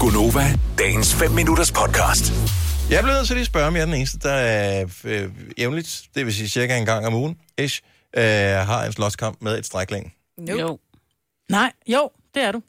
Gunova, dagens 5 minutters podcast. Jeg bliver nødt til lige at spørge, om jeg er den eneste, der øh, øh, jævnligt, det vil sige cirka en gang om ugen, ish, øh, har en slåskamp med et strækling. Nope. Jo. Nej, jo, det er du.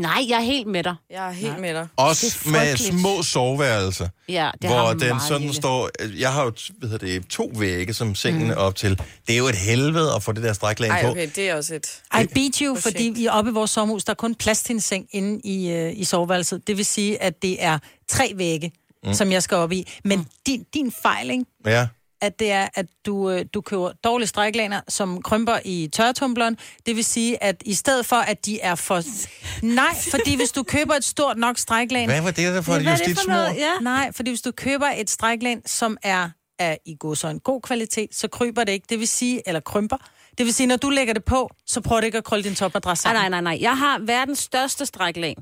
Nej, jeg er helt med dig. Jeg er helt med dig. Også Det er med frygteligt. små soveværelser, Ja, det har hvor man den meget sådan lille. står... øh, Jeg har jo hvad hedder det, to vægge, som sengen Mm. er op til. Det er jo et helvede at få det der strækling Ej, på. okay, det er også et... I beat you, fordi vi er oppe i vores sommerhus, der er kun plads til en seng inde i, øh, i soveværelset. Det vil sige, at det er tre vægge, mm. som jeg skal op i. Men Mm. din, din fejl, ikke? Ja. at det er, at du, øh, du køber dårlige stræklaner, som krymper i tørretumbleren. Det vil sige, at i stedet for, at de er for... Nej, fordi hvis du køber et stort nok stræklan... Hvad var det der for et Hvad er det for justitsmord? noget? Ja. Nej, fordi hvis du køber et stræklan, som er af i god så en god kvalitet, så kryber det ikke. Det vil sige, eller krymper. Det vil sige, når du lægger det på, så prøver det ikke at krølle din topmadras Nej, sammen. nej, nej, nej. Jeg har verdens største stræklæn.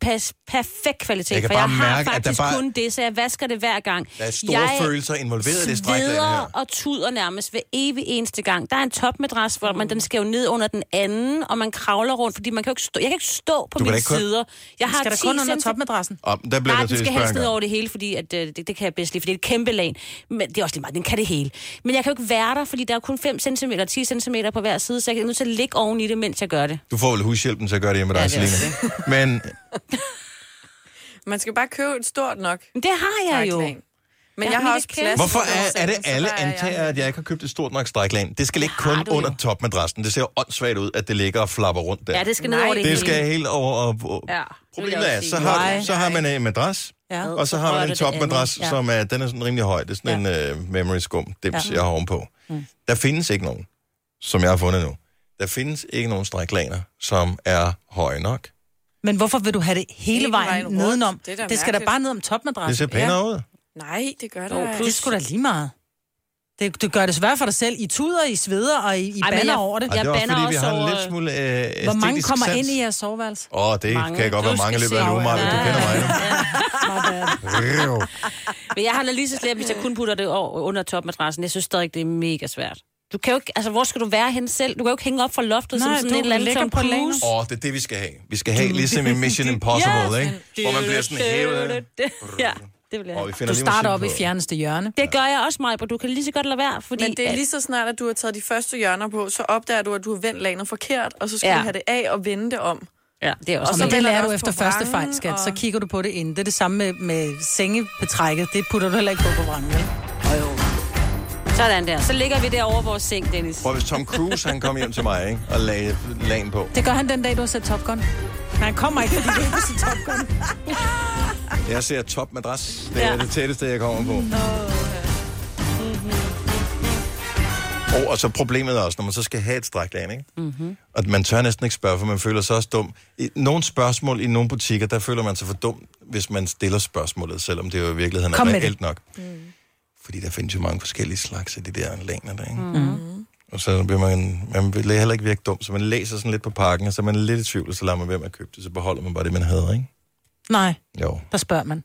Pas, perfekt kvalitet, Jeg kan for jeg bare har mærke, at der faktisk bare- kun det, så jeg vasker det hver gang. Der er store jeg følelser involveret i det stræklæn sveder her. og tuder nærmest hver evig eneste gang. Der er en topmadras, hvor man, den skal jo ned under den anden, og man kravler rundt, fordi man kan jo ikke stå, jeg kan ikke stå Du på kan da mine ikke kun- sider. Jeg har Skal der 10 kun under centimeter- topmadrassen? Og der bliver Nej, jeg den nødt til skal at spørge helst en ned gang. over det hele, fordi at, øh, det, det kan jeg bedst lide, for det er et kæmpe lag. Men det er også lige meget, den kan det hele. Men jeg kan jo ikke være der, fordi der er kun 5 cm og 10 cm på hver side, så jeg er nødt til at ligge oven i det, mens jeg gør det. Du får vel hushjælpen til at gøre det hjemme med dig, Ja, det er Selina. Men Man skal bare købe et stort nok Men det har jeg jo. stræklan. Men Ja, jeg men har også det kan- plads. Hvorfor til er, er det sengen, så alle der er jeg. antager, at jeg ikke har købt et stort nok strækland? Det skal ligge har kun du jo. under topmadrassen. Det ser jo åndssvagt ud, at det ligger og flapper rundt der. Ja, det skal ned Nej, over det, det hele. skal helt over. Og, og Ja, det vil jeg også problemet er, så sige. har, Nej. så har man en madras, Ja. og så har Så man en rører det det topmadras, andet. Ja. som er, den er sådan rimelig høj. Det er sådan en uh, memory skum, dims, jeg har ovenpå. Mm. Der findes ikke nogen, som jeg har fundet nu. Der findes ikke nogen stræklaner, som er høje nok. Men hvorfor vil du have det hele, Hele vejen vejen, rundt. nedenom? Det er da det skal da mærkeligt. bare ned om Det topmadrassen. ser pænere ud. Nej, det gør det Nå, ej. Det er sgu da lige meget. Det, det gør det svært for dig selv. I tuder, I sveder, og I, I Ej, men bander jeg- over det. Og Jeg det er også bander fordi, vi også har en over- lidt smule øh, Hvor mange æstetisk kommer sans. ind i jeres soveværelse? Åh, oh, det mange. Mange. kan godt Du være mange i skal løbet af se en uge, over. Maja. Du Ja. kender mig My bad. nu. Riv. Men jeg har det lige så slemt, hvis jeg kun putter det over, under topmadrassen. Jeg synes stadig, det er mega svært. Du kan jo ikke, altså, hvor skal du være hen selv? Du kan jo ikke hænge op fra loftet Nej, som sådan du et eller andet ligger som på laner. cruise. Åh, oh, det er det, vi skal have. Vi skal have ligesom i Mission Impossible, ikke? Hvor man bliver sådan hævet. Ja, det vil jeg Og have. vi finder Du lige starter musik op i på. fjerneste hjørne. Det gør jeg også, Maja, du kan lige så godt lade være, fordi... Men det er at- lige så snart, at du har taget de første hjørner på, så opdager du, at du har vendt lanet forkert, og så skal Ja. ja. du have det af og vende det om. Ja, det er Og også så så og det vælger lærer du du også efter på første vrangen, fejl, skat. og- Så kigger du på det inden. Det er det samme med, med sengebetrækket. Det putter du heller ikke på på vrangen. vel? Sådan der. Så ligger vi der over vores seng, Dennis. Prøv hvis Tom Cruise, han kom hjem til mig, ikke? Og lagde lagen på. Det gør han den dag, du har set Top Gun. Nej, han kommer ikke, fordi du ikke har set Top Gun. Jeg ser topmadras. Det er Ja. det tætteste, jeg kommer på. Mm-hmm. Oh, Og, og så problemet er også, når man så skal have et strækland, ikke? Mm-hmm. Og man tør næsten ikke spørge, for man føler sig også dum. I nogle spørgsmål i nogle butikker, der føler man sig for dum, hvis man stiller spørgsmålet, selvom det jo i virkeligheden Kom er med det. reelt nok. Mm. Fordi der findes jo mange forskellige slags af de der længder der, ikke? Mm-hmm. Og så bliver man, man vil heller ikke virke dum, så man læser sådan lidt på pakken, og så er man lidt i tvivl, og så lader man være med at købe det, så beholder man bare det, man havde, ikke? Nej, Jo. der spørger man.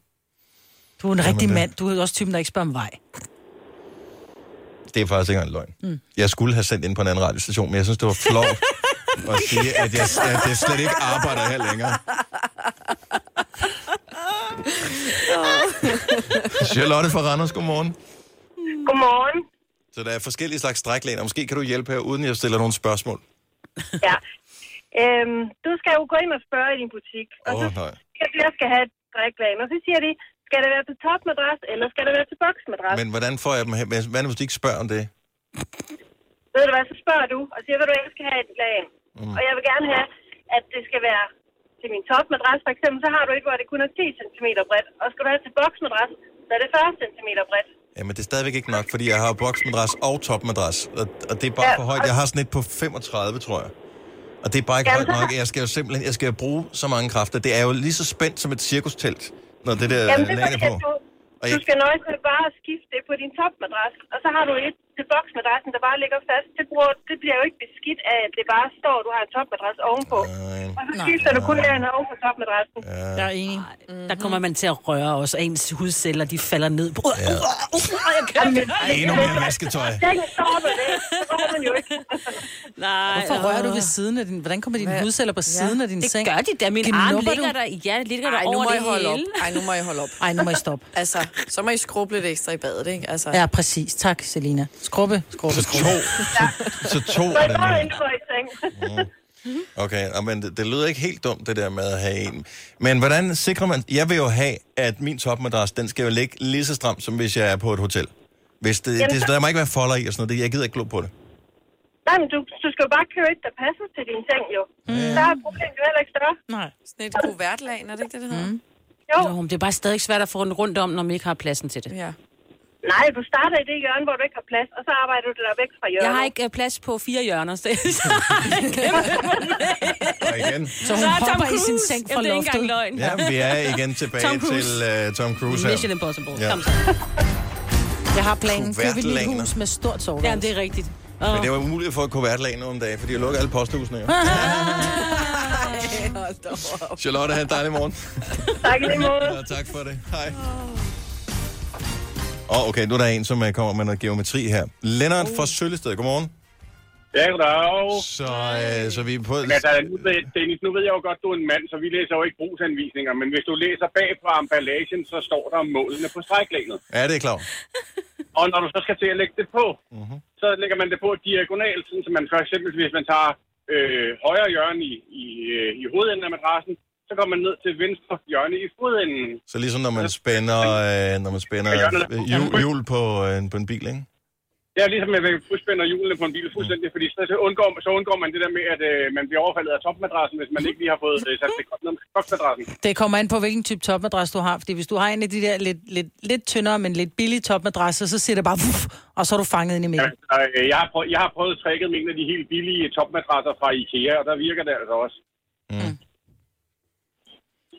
Du er en rigtig det- mand. Du er også typen, der ikke spørger om vej. Det er faktisk ikke engang løgn. Mm. Jeg skulle have sendt ind på en anden radiostation, men jeg synes, det var flot at sige, at jeg, at jeg slet ikke arbejder her længere. Charlotte fra Randers, godmorgen. Godmorgen. Så der er forskellige slags stræklæner. Måske kan du hjælpe her, uden jeg stiller nogle spørgsmål. Ja. Øhm, du skal jo gå ind og spørge i din butik, og Åh, så oh, nej. siger du, jeg skal have et drikkelag, og så siger de, skal det være til topmadras, eller skal det være til boksmadras? Men... Men hvordan får jeg dem her? Hvad nu, hvis de ikke spørger om det? Ved du hvad, så spørger du, og siger, ved du, hvad, jeg skal have et lag, mm. og jeg vil gerne have, at det skal være til min topmadras, for eksempel, så har du et, hvor det kun er 10 cm bredt, og skal du have til boksmadras, så er det 40 cm bredt. Jamen, det er stadigvæk ikke nok, fordi jeg har jo boksmadras og topmadras, og, og det er bare Ja, for højt. og- Jeg har sådan et på 35, tror jeg. Og det er bare ikke Ja, højt men så- nok. Jeg skal jo simpelthen jeg skal jo bruge så mange kræfter. Det er jo lige så spændt som et cirkustelt, når det der Jamen, det Jamen, er lag fordi, er at på. du, Og du jeg, skal nøjes med bare at skifte det på din topmadras, og så har du et til boksmadrassen, der bare ligger fast, det, bruger, det bliver jo ikke beskidt af, at det bare står, at du har en topmadras ovenpå. Nej. Og så skifter du kun lagen oven på topmadrassen. Jeg er enig. Mm-hmm. Der kommer man til at røre os, og ens hudceller, de falder ned. Uh, uh, uh, uh, jeg kan ikke. Endnu mere vasketøj. Den står med det. Det går man jo ikke. Nej. Hvorfor rører du ved siden af din... Hvordan kommer dine hudceller på siden af din Det seng? gør de da. Min arm Gnubber ligger du? der, ja, ligger der Ej, nu over må I det holde op. hele. Ej, nu må I holde op. Ej, nu må I stoppe. Altså, så må I skrubbe lidt ekstra i badet, ikke? Altså, Ja, præcis. Tak, Selina. Skrubbe, skrubbe, Så skrubbe. to, så to Så af I dem. går ind for i seng. Okay, og men det, det lyder ikke helt dumt, det der med at have en. Men hvordan sikrer man... Jeg vil jo have, at min topmadras, den skal jo ligge lige så stramt, som hvis jeg er på et hotel. Hvis det, Jamen, det, så- der må ikke være folder i og sådan noget. Det- Jeg gider ikke glo på det. Nej, men du, du skal jo bare købe et, der passer til din seng, jo. Mm. Der er problemet jo heller ikke større. Nej. sådan et kuvertlag, er det ikke det, det hedder? Mm. Jo, Jo, men det er bare stadig svært at få den rundt om, når man ikke har pladsen til det. Ja. nej, du starter i det hjørne, hvor du ikke har plads, og så arbejder du dig væk fra hjørnet. Jeg har ikke øh, plads på fire hjørner, så, så Og igen, Så hun er Tom hopper i sin Cruise. seng fra Jamen, det er ikke loftet. engang løgn. ja, vi er igen tilbage Tom Tom Cruise. til uh, Tom Cruise Mission her. Impossible. Ja. Ja. Kom så. Jeg har planen. Køb et lille Kuvertlaner. hus med stort soveværelse. Jamen, det er rigtigt. Åh, Men det var umuligt for at få hverdagen nu om dagen, fordi jeg lukker alle posthusene. Jo. Charlotte, have en dejlig morgen. Tak i lige måde. Ja, tak for det. Hej. Og okay, nu er der en, som øh, kommer med noget geometri her. Lennart fra Søllested, godmorgen. Ja, goddag. Så, øh, så vi er på... Altså, nu ved, Dennis, nu ved jeg jo godt, du er en mand, så vi læser jo ikke brugsanvisninger, men hvis du læser bag på emballagen, så står der målene på stræklænet. Ja, det er klart. Og når du så skal til at lægge det på, mm-hmm. så lægger man det på diagonalt, sådan, så man for eksempel, hvis man tager øh, højre hjørne i, i, øh, i hovedenden af madrassen, så kommer man ned til venstre hjørne i fodenden. Så ligesom når man spænder, øh, når man spænder øh, hjul, hjul på, øh, en- på en bil, ikke? Det er ligesom, at man udspænder hjulene på en bil fuldstændig, fordi så, så, undgår, så undgår man det der med, at øh, man bliver overfaldet af topmadrassen, hvis man ikke lige har fået øh, sat det godt ned med topmadrassen. Det kommer an på, hvilken type topmadras du har. Fordi hvis du har en af de der lidt, lidt, lidt tyndere, men lidt billige topmadrasser, så siger det bare, "Vuff", og så er du fanget ind i midten. Altså, øh, jeg, har prøvet, jeg har prøvet tricket med en af de helt billige topmadrasser fra Ikea, og der virker det altså også.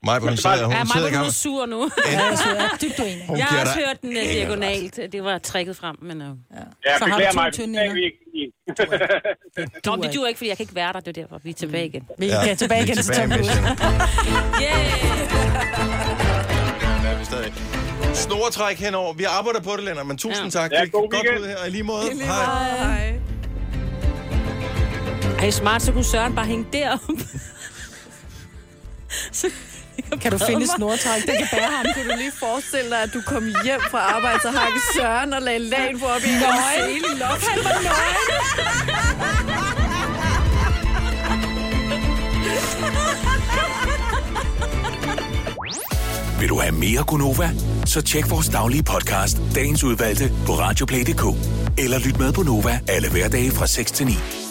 Maja, hun sidder, Ja, hun mig sidder i var gang. du sur nu. Ja, altså, jeg er dybt uenig. Hun Jeg har giver også dig- hørt den øh, diagonalt. Det var trækket frem, men... øh, Ja, Så har du beklager to mig. tynde beklager ender. vi ikke lige. Nå, men det duer ikke, Mm. fordi jeg kan ikke være der. Det er derfor, vi er tilbage igen. Vi er tilbage vi er igen til tilbage Tom med Cruise. Der er vi stadig. Snoretræk henover. Vi arbejder på det, Lennart, men tusind ja. tak. Ja, Det er god godt weekend. ud her. I lige måde. Hej. Hej. Ej, smart, så kunne Søren bare hænge deroppe. Kan du finde et snortræk? Det kan bære ham. Kunne du lige forestille dig, at du kom hjem fra arbejde, så hakkede Søren og lagde lagen på op i en hele loft? Vil du have mere Gunova? Så tjek vores daglige podcast, dagens udvalgte, på radioplay.dk. Eller lyt med på Nova alle hverdage fra 6 til 9.